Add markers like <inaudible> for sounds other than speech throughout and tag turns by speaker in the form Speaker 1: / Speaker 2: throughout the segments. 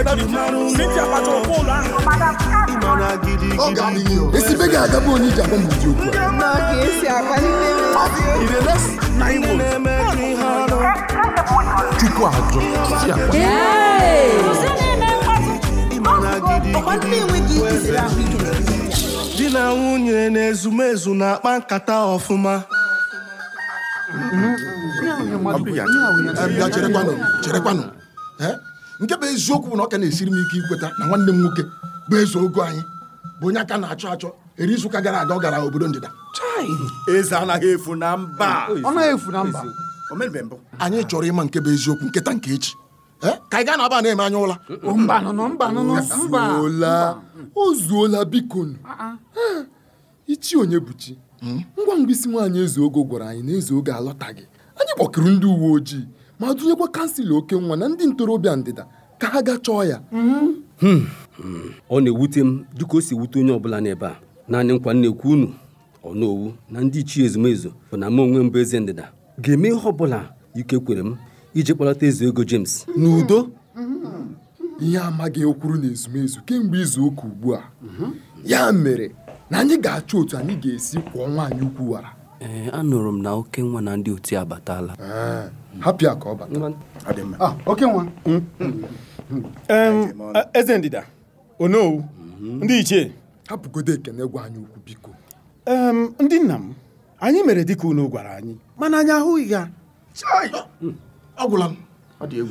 Speaker 1: Cynthia Patrol ụlọ ahụ.
Speaker 2: Ọ ga-adị gị o.
Speaker 3: esibe ga-agabụ onye iji agwa m ụdị okwu a
Speaker 4: ka esi akwalite
Speaker 2: Ị na-elesi na Igbo. Chukwu ajọ. Si akwa.
Speaker 4: ọkwa ndị enweghị ike siri ahụ ike
Speaker 5: di na nwunye na ezumezu na-akpa nkata ọfụma
Speaker 2: Ọ bụ ya.
Speaker 3: Eh, bịa cherekwanụ cherekwanụ Eh, nke bụ eziokwu bụ na ọ ka na-esiri m ike ikweta na nwanne m nwoke bụ eze ogo anyị bụ onye aka na-achọ achọ eri izu ụka gara aga ọ gara obodo ndịda
Speaker 2: Eze anaghị efu na mba.
Speaker 6: ọ naghị efu na mba
Speaker 2: O mebe mbụ.
Speaker 6: Ah.
Speaker 3: anyị chọrọ ịma nke bụ eziokwu nketa nke echi Eh, ka anyị gaa na aba na-eme anya ụla
Speaker 6: mba nụnụ mba nụnụ mba
Speaker 7: ozuola o zuola biko nụ Ah, ichi onye bụ chi ngwa ngwa isi nwaanyị ezeogo gwara anyị na ezeogo alọtaghị anyị kpọkiri ndị uwe ojii ma dunyekwa kansịl oke nwa na ndị ntorobịa ndịda ka ha gaa chọọ ya
Speaker 8: ọ na-ewute m dịka o si ewute onye ọbụla n'ebe a naanị nkwa nnekwu unu ọnowu na ndị ichie ezumezu bụ na m onwe mbụ eze ndịda ga-eme ihe ọbụla ike kwere m iji kpọlata eze ego james n'udo
Speaker 7: Hmm. ihe amaghị ekwuru na ezumezu kemgbe izu ụka ugbu a ya mere na anyị ga-achọ otu anyị ga-esi kwụọ nwaanyị ukwu wara
Speaker 8: ee anụrụ m na oke nwa na ndị otu abatala
Speaker 7: Eh, hapụ ya ka ọ bata
Speaker 2: Ọ dị mma.
Speaker 6: Ah, oke nwa
Speaker 2: Em, a-
Speaker 5: eze ndịda onowu ndị ichie
Speaker 7: hapụgodo ekene gwa anyị ukwu biko
Speaker 5: em, ndị nna m anyị mere dịka unu gwara anyị mana anyị ahụghị ya
Speaker 3: ọgwụlanụ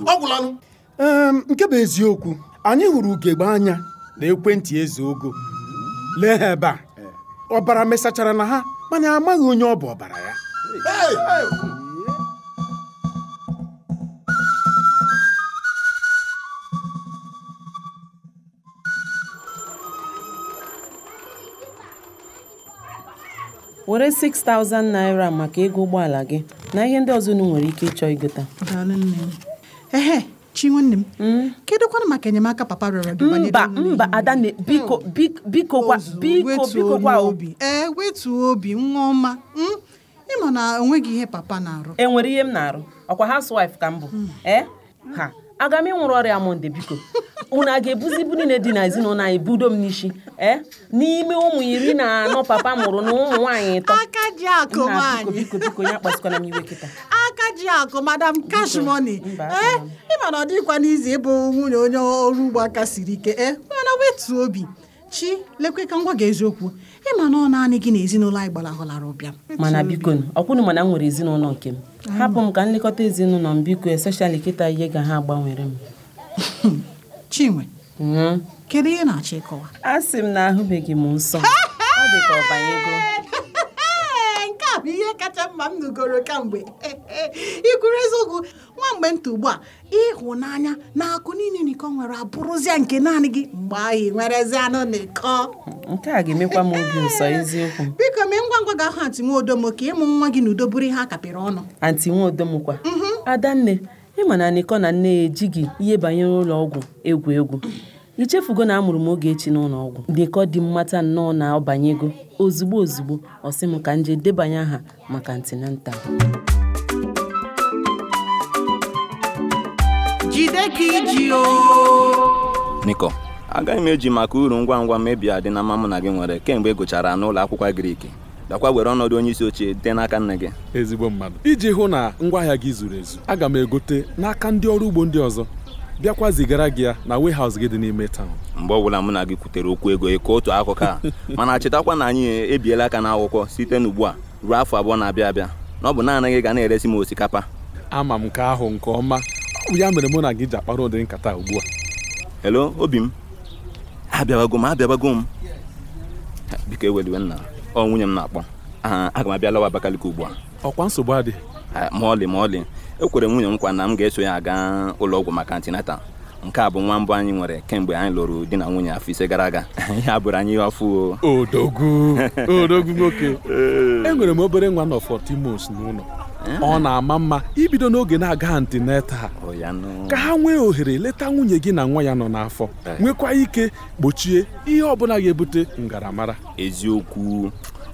Speaker 3: ọgwụlanụ
Speaker 5: Em, nke bụ eziokwu anyị hụrụ ugegbe anya na ekwentị eze ogo lee ha ebe a ọbara mesachara na ha mana amaghị onye ọ bụ ọbara ya
Speaker 9: were 6000 naira maka ego ụgbọala gị na ihe ndị ọzọ unu nwere ike ịchọ igote
Speaker 4: daalụ nne m ehe Eh, chi nwanne m
Speaker 9: Hmm?
Speaker 4: kedụkwanụ maka enyemaka papa rịọrọ gị banyere
Speaker 9: mba
Speaker 4: ụlọ
Speaker 9: mba
Speaker 4: ihe
Speaker 9: ada na- biko
Speaker 4: Hmm.
Speaker 9: bik- biko gwa
Speaker 4: ozu,
Speaker 9: hmm, biko
Speaker 4: wetuo
Speaker 9: biko gwa obi
Speaker 4: n'obi. ee wetuo obi nwa ọma Mm? ịma na onweghị ihe papa na-arụ
Speaker 9: e nwere ihe m na-arụ ọkwa housewife ka m bụ
Speaker 4: Hmm.
Speaker 9: ee ha aga m ịnwụrụ ọrịa monde biko unu a ga-ebuzi ibu niile dị na ezinụlọ anyị budo m n'isi ee n'ime ụmụ iri na anọ papa mụrụ na ụmụ nwaanyị ịtọ
Speaker 4: aka ji akụ
Speaker 9: Nna, biko
Speaker 4: nwaanyị
Speaker 9: biko biko ya kpasịkwana m iwe kịta
Speaker 4: <laughs> aka ji akụ madam cash money
Speaker 9: mba,
Speaker 4: ee
Speaker 9: mba.
Speaker 4: ịma na ọ dịghịkwa n'izi ịbụ nwunye onye ọrụ ugbo aka siri ike ee mana wetuo obi chi lekwe ka ngwa gị eziokwu ịma na ọ naanị gị na ezinụlọ anyị gbalahụlara ụbịam
Speaker 9: mana biko ọkwụnụ mana m nwere ezinụlọ nke m hapụ m ka nlekọta ezinụlọ m biko especially kịta ihe ga ha agbanwere m
Speaker 4: chinwe
Speaker 9: Mhm.
Speaker 4: kedu ihe ị na-achọ ịkọwa
Speaker 9: a sị m na ahụbeghị m nsọ ọ dị ka ọbanyego
Speaker 4: Ee, nke a bụ ihe kacha mma m nụgoro kamgbe ikwuru eziokwu nwa mgbe nta ugbu a ịhụnanya na akụ niile n'iko nwere abụrụzịa nke naanị gị mgbe ahụ nwerezi anụ n'iko
Speaker 9: nke a ga-emekwa m obi ụsọ eziokwu
Speaker 4: biko mee ngwa ngwa ga-ahụ atị nwa odomo ka ịmụ nwa gị n'udo bụrụ ihe a kapịrị ọnụ Mhm,
Speaker 9: anti nwaodomukwa adanne ịma na nịkọ na nne ya ejighị ihe banyere ụlọ ọgwụ egwu egwu ichefugo na amụrụ m oge echi n'ụlọ ọgwụ nịkọ dị mmata nnọọ na ọ banyego ozugbo ozugbo ọ sị m ka nje debanye aha maka antinanta
Speaker 4: jide ka iji o
Speaker 10: niko agaghị m eji maka uru ngwa ngwa mmebi adị na mma mụ na gị nwere kemgbe ị gụchara n'ụlọ akwụkwọ grik dakwa were ọnọdụ onye isi ochie dị n'aka nne gị
Speaker 11: ezigbo mmadụ iji hụ na ngwaahịa gị zuru ezu aga m egote n'aka ndị ọrụ ugbo ndị ọzọ bịakwa zigara gị ya na warehouse gị dị n'ime taụn
Speaker 10: mgbe ọbụla mụ na gị kwutere okwu ego ịkọ otu akụkọ
Speaker 11: <laughs>
Speaker 10: a mana chetakwa na anyị ebiela aka n'akwụkwọ site n'ugbu a ruo afọ abụọ na-abịa abịa na ọ bụ naanị gị ga na-eresi m osikapa
Speaker 11: ama m nke ahụ nke ọma ọ bụ ya mere mụ na gị ji akpara ụdịrị nkata a ugbu a
Speaker 10: elo obi m abịabago m abịabago m biko eweliwe nna ọ nwunye m na-akpọ aha Ah, aga m abịa lawa abakaliki ugbu a
Speaker 11: ọkwa nsogbu adị
Speaker 10: Ah, ma ọlị ma ọlị ekwere m nwunye m nkwa na m ga-eso ya aga ụlọ ọgwụ maka antinata nke a bụ nwa mbụ anyị nwere kemgbe anyị lụrụ di na nwunye afọ ise gara aga <laughs> ya bụrụ anyị ihe ọfụ o.
Speaker 6: Oh.
Speaker 5: <laughs>
Speaker 11: odogwu odogwu nwoke enwere m obere nwa nọ 40 months n'ụlọ ọ na-ama mma ibido n'oge na-aga antineta
Speaker 10: ọ Oh, ya nụ.
Speaker 11: ka ha nwee ohere leta nwunye gị na nwa ya nọ n'afọ nwekwa ike gbochie ihe ọbụla ga-ebute ngaramara
Speaker 10: eziokwu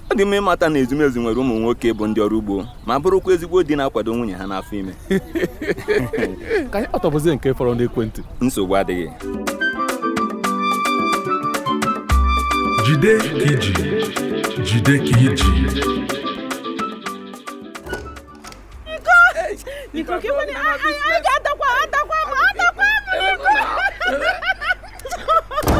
Speaker 10: ọ dị mma ịmata na ezumezu nwere ụmụ nwoke bụ ndị ọrụ ugbo ma bụrụkwa ezigbo di na-akwado nwunye ha n'afọ ime
Speaker 11: ka anyị kpọtọbụzie nke fọrọ n'ekwentị
Speaker 10: nsogbu adịghị
Speaker 12: jide ka iji jide ka iji
Speaker 9: E
Speaker 13: Niko, que bonito. Ai, ai, ai, ata com a, ata com a, ata com a.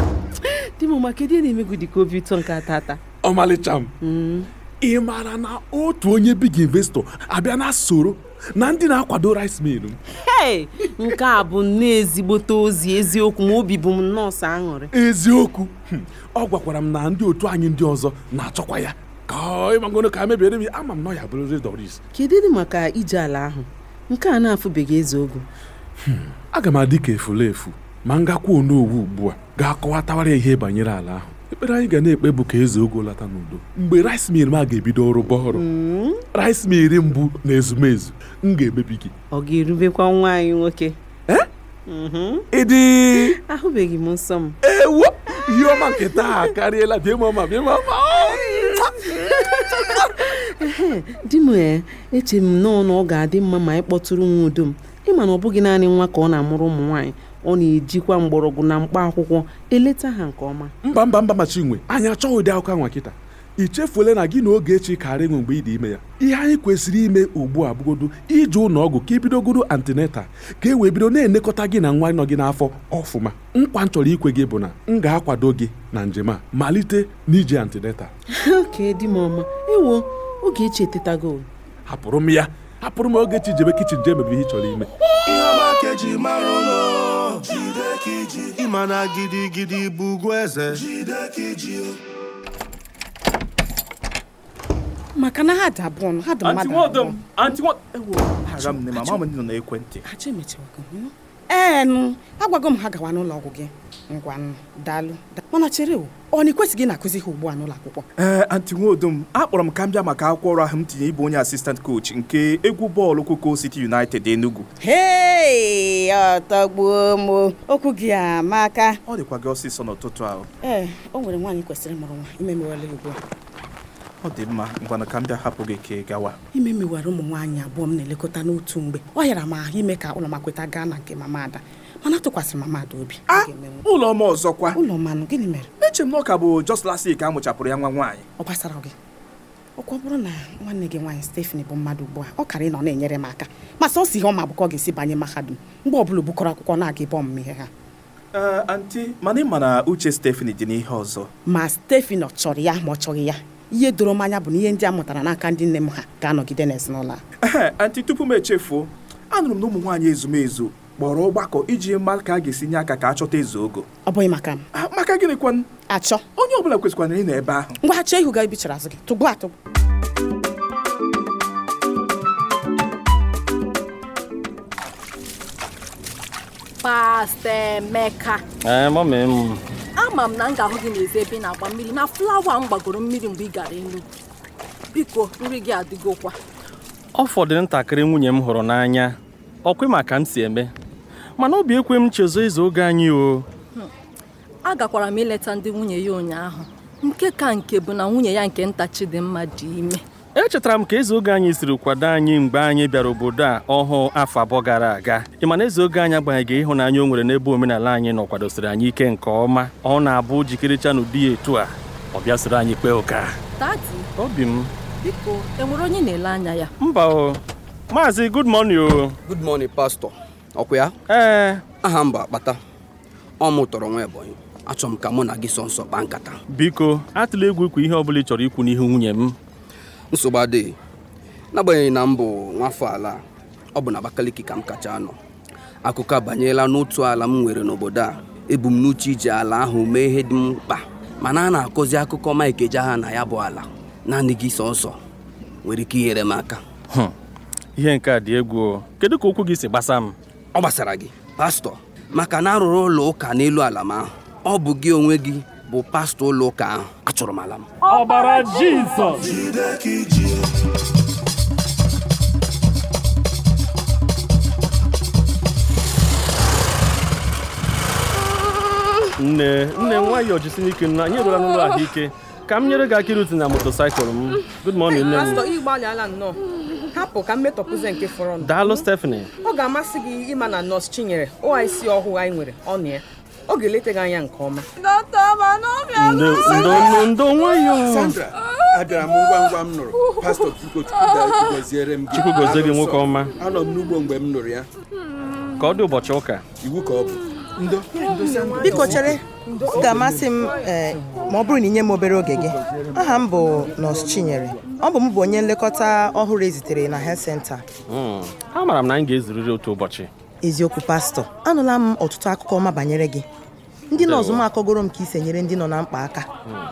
Speaker 9: <laughs> di m maka ihe na-emegwu dị ka obi ụtọ nke atata
Speaker 11: ọmalịcha m ị maara na otu onye big investor abịa na soro na ndị na-akwado rice mill m
Speaker 9: hei nke a bụ nnọọ ezigbote ozi eziokwu ma obi bụ m nọọsụ aṅụrị
Speaker 11: eziokwu Hmm. ọ gwakwara m na ndị otu anyị ndị ọzọ na-achọkwa ya ka ịmagoro ka mebiere m ya ama m na ọ ya bụrụzi doris
Speaker 9: kedu dị maka ije ala ahụ nke a na-afụbeghị eze ogo
Speaker 11: aga m adị ka efulefu ma m gakwa onowu ugbu a ga-akọwatawara ya ihe banyere ala ahụ ekpere anyị ga na-ekpe bụ ka eze ogo lata n'udo mgbe rice mill m a ga-ebido ọrụ bọọrụ rice mill mbụ na ezumezu m ga-emebi gị
Speaker 9: ọ ga-erubekwa nwa anyị nwoke
Speaker 11: Eh?
Speaker 9: Mhm.
Speaker 11: ịdị
Speaker 9: ahụbeghị m nsọ m
Speaker 11: ewo ihe ọma nke taa akarịala bịa mama bịa mama
Speaker 9: Ehe, di m ee eche m nọọ na ọ ga-adị mma ma anyị kpọtụrụ nwa udo m ịma na ọ bụghị naanị nwa ka ọ na-amụrụ ụmụ nwaanyị ọ na-ejikwa mgbọrọgwụ na mkpa akwụkwọ eleta ha nke ọma <laughs>
Speaker 11: mba mba mba machinwe anyị achọghị ụdị akụkọ anwa kịta ichefuola na gị na Ogechi karịa enwe mgbe ị dị ime ya ihe anyị kwesịrị ime ugbu a bụgodo ije ụlọ ọgwụ ka ibidogodo antineta ka e wee bido na-enekọta gị na nwa nọ gị n'afọ ọfụma nkwa m chọrọ ikwe gị bụ na m ga-akwado gị na njem a malite n'ije antineta
Speaker 9: oke di m ọma ewo oge echi etetago
Speaker 11: hapụrụ m ya hapụrụ m Ogechi jebe kichin jee mebe ihe ị chọrọ ime
Speaker 14: ihe ọma ka eji mara ụlọ ịma na gidigidi bụ ugwu eze
Speaker 13: maka na ha dị abụọ nọ, ha dị mmadụ abụọ.
Speaker 15: Agha m nne, mama m nọ n'ekwentị.
Speaker 13: Achọ emechiwago m. ee nụ agwago m ha gawa n'ụlọ ọgwụ gị ngwa nụ daalụ da- mana chere o ọ na ikwesịghị na-akụzi ha ugbu a n'ụlọ akwụkwọ
Speaker 15: ee anti nwodum Eh, akpọrọ m ka m bịa maka akwụkwọ ọrụ ahụ m tinye ịbụ onye asistant coach nke egwu bọọlụ Koko City United Enugu
Speaker 13: hei ọtọgbuo m o. okwu gị amaka
Speaker 15: ọ dịkwa gị ọsịsọ n'ụtụtụ ahụ
Speaker 13: ee Eh, o nwere nwaanyị kwesịrị mụrụ nwa imemewela ya ugbu a
Speaker 15: ọ dị mma ngwanụ ka m bịa hapụ gị ka ị gawa
Speaker 13: imemewara ụmụ nwaanyị abụọ m na-elekọta n'otu mgbe ọ hịara m ahụ ime ka ụlọ makweta gaa na nke mama ada mana atụkwasịrị mama ada obi a ga-emenwu
Speaker 15: ụlọ ọma ọzọkwa
Speaker 13: ụlọ ọmanụ gịnị mere
Speaker 15: eche m na ọ ka bụ just last week a mụchapụrụ ya nwa nwaanyị
Speaker 13: ọ gbasara gị ọkwa ọ bụrụ na nwanne gị nwaanyị Stephanie bụ mmadụ ugbu a ọ kara ị nọ na-enyere m aka ma sọ si ihe ọma bụkọ ga-esi banye mahadum mgbe ọbụla bukọrọ akwụkwọ na-aga ebe ọmụmụ ihe ha
Speaker 15: ee anti Eh, mana ị ma na uche Stephanie dị n'ihe ọzọ
Speaker 13: ma Stephanie ọ chọrọ ya ma ọ chọghị ya ihe doro m anya bụ na ihe ndị a mụtara n'aka ndị nne m ha ga-anọgide n'ezinụlọ a
Speaker 15: Ehe, anti tupu m echefuo anụrụ m na ụmụ nwaanyị ezumezu kpọrọ ọgbakọ iji mma ka a ga-esi nye aka ka a chọta eze ogo Ah,
Speaker 13: ọ bụghị maka m
Speaker 15: maka gịnị kwanụ
Speaker 13: achọ
Speaker 15: onye ọbụla kwesịkwara na ị nọ ebe ahụ
Speaker 13: ngwa ha chọọ ihu ga ebichara azụ gị tụgbu atụgbu
Speaker 16: Pasta Emeka
Speaker 17: ee Eh, mami m
Speaker 16: ama m na m ga-ahụ gị n'ezi ebe ị na-agba mmiri na flawa m gbagoro mmiri mgbe ị gara Enugu biko nri gị adịgokwa
Speaker 17: ọ fọdụrụ ntakịrị nwunye m hụrụ n'anya ọkwe maka m si eme mana obi ekwe m chezo izu oge anyị o
Speaker 16: agakwara m ileta ndị nwunye ya ụnyaahụ nke ka nke bụ na nwunye ya nke nta Chidimma dị ime
Speaker 17: echetara m ka eze oge anyị siri kwado anyị mgbe anyị bịara obodo a ọhụụ afọ abụọ gara aga ị ma na eze oge anyị agbanyeghị ịhụnanya o nwere n'ebe omenala anyị nọ kwadosiri anyị ike nke ọma ọ na-abụ jikiricha n'ụdị ya etu a ọ bịa soro anyị kpee ụka
Speaker 16: dadi
Speaker 17: obi m
Speaker 16: biko enwere onye na-ele anya ya
Speaker 17: mba o maazị good morning o
Speaker 18: good morning pastor ọkwa ya
Speaker 17: ee
Speaker 18: aha mba akpata ọ mụ tọrọ nwa ebonyi achọ m ka mụ na gị sọ nsọ kpaa nkata
Speaker 17: biko atụla egwu ikwu ihe ọ bụla ị chọrọ ikwu n'ihu nwunye m
Speaker 18: nsogbu adịghị n'agbanyeghị na m bụ nwafọ ala ọ bụ na abakaliki ka m kacha anọ akụkọ abanyela n'otu ala m nwere n'obodo a ebumnuche iji ala ahụ mee ihe dị m mkpa mana a na-akụzi akụkọ Mike Ejeagha na ya bụ ala naanị gị sọnsọ nwere ike inyere m aka
Speaker 17: Hmm. ihe nke a dị egwu o. kedu ka okwu gị si gbasa m
Speaker 18: ọ gbasara gị pastọ maka na arụrụ ụlọ ụka n'elu ala m ahụ ọ bụ gị onwe gị bụ pastọ ụlọ ụka ahụ achọrọ m ala m
Speaker 17: ọbara jizọs nne nne nwayọọ jisina ike nna anyị eruola n'ụlọ ahụike ka m nyere gị aka irute na motosaịkụl m good morning nne m
Speaker 19: pastọ ị gbalịala nnọọ hapụ ka mmetọpụzie nke fọrọnụ
Speaker 17: daalụ stefani
Speaker 19: ọ ga-amasị gị ịma na nọọsụ chinyere ụwa isi ọhụụ anyị nwere ọ nọ ya
Speaker 20: ọ ga-eleta gị anya nke ọma
Speaker 17: ndo ndo ndo nwayọọ
Speaker 18: Sandra, abịara m ngwa ngwa m nụrụ pastọ Chukwuka gọziere m gị.
Speaker 17: Chukwu gozie gị nwoke ọma.
Speaker 18: Anọ m n'ugbo mgbe m nụrụ ya.
Speaker 17: ka ọ dị ụbọchị ụka
Speaker 18: Iwu ka ọ bụ. Ndo.
Speaker 21: biko chere Eh, ọ ga-amasị m ee, ma ọ bụrụ na inye m obere oge gị aha m bụ nọs chinyere ọ bụ m bụ onye nlekọta ọhụrụ ezitere na health center
Speaker 17: Mm. amaara m na anyị ga-ezuriri otu ụbọchị
Speaker 21: eziokwu pastọ anụla m ọtụtụ akụkọ ọma banyere gị ndị nọọsụ m akọgoro m ka i si enyere ndị nọ na mkpa aka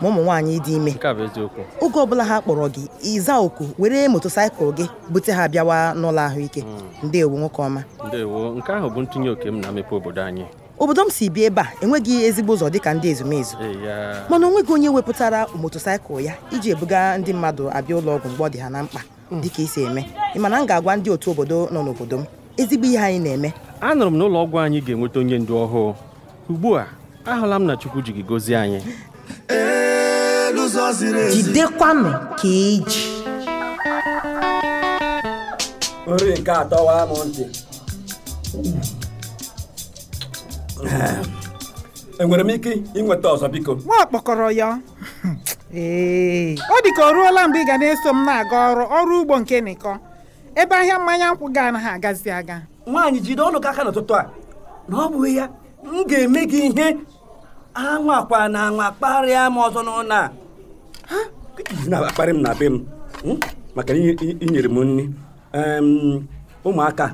Speaker 21: ma ụmụ nwaanyị dị ime
Speaker 17: nke a bụ eziokwu
Speaker 21: oge ọbụla ha kpọrọ gị ịza oku were motosaịkụl gị bute ha bịawa n'ụlọ ahụike ndeewo nwoke ọma
Speaker 17: ndewo nke ahụ bụ ntinye oke m na mmepe obodo anyị
Speaker 21: obodo m si bi ebe a enweghị ezigbo ụzọ dịka ndị ezumezu
Speaker 17: Ee, ya
Speaker 21: mana onweghị onye wepụtara motosaịkụl ya iji ebuga ndị mmadụ abịa ụlọ ọgwụ mgbe ọ dị ha na mkpa dịka esi eme ị mana m ga-agwa ndị otu obodo nọ n'obodo m ezigbo ihe anyị na-eme
Speaker 17: anụrụ m na ụlọ ọgwụ anyị ga-enweta onye ndu ọhụụ ugbu a ahụla m na chukwu ji gị gozie anyị
Speaker 22: N'ụzọ ziri ezi.
Speaker 21: jidekwanụ ka e eji
Speaker 23: nri nke atọwa m ntị enwere m ike ịnweta ọzọ biko
Speaker 4: nwa kpọkọrọ ya ọ dị ka ọ ruola mgbe ị ga na-eso m na-aga ọrụ ọrụ ugbo nke nịkọ ebe ahịa mmanya nkwụ ga anaghị agazi aga
Speaker 23: nwaanyị jide ọnụ gị aka n'ụtụtụ a na ọ bụghị ya m ga-eme gị ihe anwa akwa na anwa kparịa m ọzọ n'ụlọ a Ha? Ị na-akparị m na be m m? maka na i- i- inyere m nri Em, ụmụaka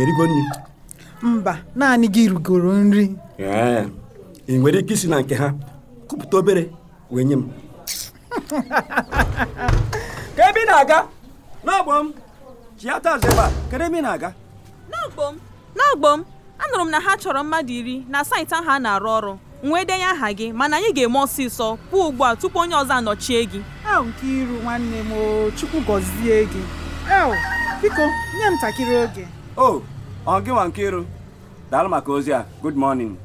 Speaker 23: erigo nri
Speaker 4: mba naanị gị rugoro nri
Speaker 23: Ee, ị nwere ike isi na nke ha kupụta obere wee nye m ka ebe ị na-aga n'ọgbọ m chiata ọzọ ebe a kedu ebe ị na-aga
Speaker 9: n'ọgbọ m n'ọgbọ m anụrụ m na ha chọrọ mmadụ iri na saịtị ahụ a na-arụ ọrụ nwee denye aha gị mana anyị ga-eme ọsịsọ pụọ ugbu a tupu onye ọzọ anọchie gị
Speaker 4: ahụ nke iru nwanne m o chukwu gọzie gị ew biko nye m ntakịrị oge
Speaker 23: o ọ gị nwa Nkiru daalụ maka ozi a good morning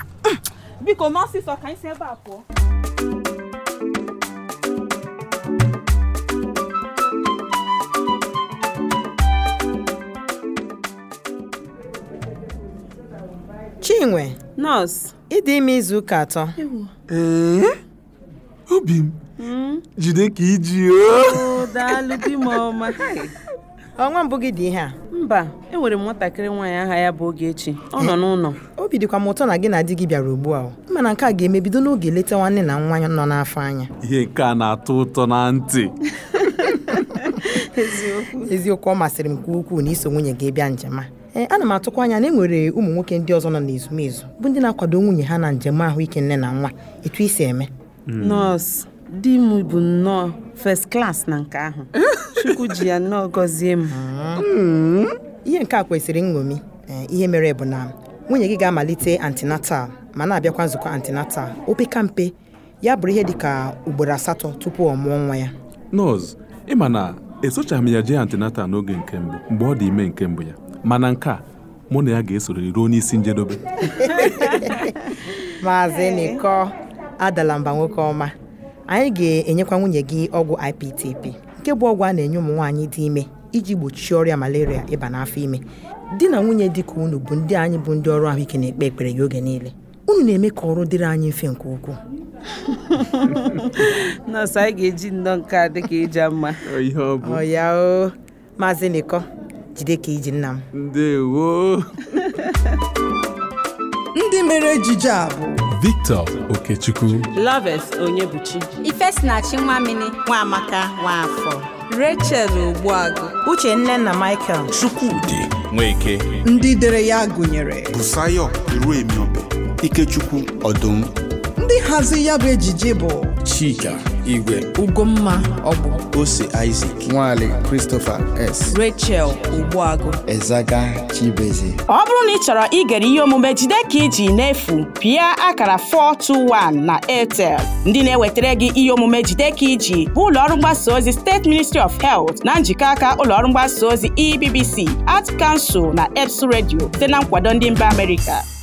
Speaker 9: <coughs> biko mee ọsịsọ ka anyị si ebe a pụọ
Speaker 21: chinwe
Speaker 4: nọọsụ
Speaker 21: ịdị ime izu ụka atọ
Speaker 4: ee
Speaker 24: obi m jide ka iji
Speaker 21: ọnwa mbụ gị dị ihe a
Speaker 25: mba enwere m nwatakịrị nwaanyị aha ya bụ Ogechi ọ nọ n'ụlọ
Speaker 21: obi dịkwa m ụtọ na gị na di gị bịara ugbu a o. mana nke a ga-emebido n'oge leta nwanne na nwa nọ n'afọ anya
Speaker 24: ihe nke a na-atọ ụtọ na ntị
Speaker 21: eziokwu ọ masịrị m nke ukwuu na iso nwunye gị bịa njem a ee ana m atụkwa anya na e nwere ụmụ nwoke ndị ọzọ nọ n'ezumezu bụ ndị na-akwado nwunye ha na njem ahụike nne na nwa etu isi eme
Speaker 25: nọọsụ di m bụ nnọọ first class na nke
Speaker 21: <laughs>
Speaker 25: ahụ chukwu ji ya nnọọ gọzie m
Speaker 21: Mm. ihe nke a kwesịrị nṅomi Ee, ihe mere bụ na nwunye gị ga-amalite antinatal ma na-abịakwa nzukọ antinatal opeka mpe ya bụrụ ihe dịka ugboro asatọ tupu ọ mụọ nwa ya
Speaker 11: nọọsụ ịma na esochaghị m ya jee antinata n'oge nke mbụ mgbe ọ dị ime nke mbụ ya mana nke a mụ na ya ga-esoriri ruo n'isi njedebe
Speaker 21: maazị nịkọ adala mba nwoke ọma anyị ga-enyekwa nwunye gị ọgwụ IPTP nke bụ ọgwụ a na-enye ụmụ nwaanyị dị ime iji gbochie ọrịa malaria ịba n'afọ ime di na nwunye dị ka unu bụ ndị anyị bụ ndị ọrụ ahụike na-ekpe ekpere gị oge niile unu na-eme ka ọrụ dịrị anyị mfe nke ukwuu
Speaker 25: <laughs> nọọsụ anyị ga-eji nnọọ nke a dịka ịja mma
Speaker 24: ihe ọ bụ
Speaker 21: ọ ya o maazị nịkọ jide ka iji nna m
Speaker 24: ndewo
Speaker 26: <laughs> ndị mere ejije a bụ
Speaker 27: Victor Okechukwu
Speaker 9: loves onyebuchi
Speaker 13: ifesinachi nwamini nwaamaka nwaafọ
Speaker 26: rachel ogbuagụ
Speaker 13: uchenna na michael
Speaker 26: chukwudị
Speaker 5: Nweke
Speaker 26: ndị dere ya gụnyere
Speaker 5: Busayo Iruemiobe Ikechukwu Ọdụm
Speaker 26: ndị hazi ya bụ ejije bụ
Speaker 5: Chika Igwe
Speaker 26: ugomma ọgbụ
Speaker 5: Ose Isaac Nwale Christopher S
Speaker 26: rachel ogbuagụ
Speaker 5: Ezaga Chibeze
Speaker 13: ọ bụrụ na ị chọrọ igere ihe omume jide ka iji n'efu pịa akara 421 na airtel ndị na-ewetara gị ihe omume jide ka iji bụ ụlọọrụ mgbasa ozi steeti ministry of health na njikọ aka E ụlọọrụ mgbasa ozi ebbc art kansụl na eps redio site na nkwado ndị mba amerịka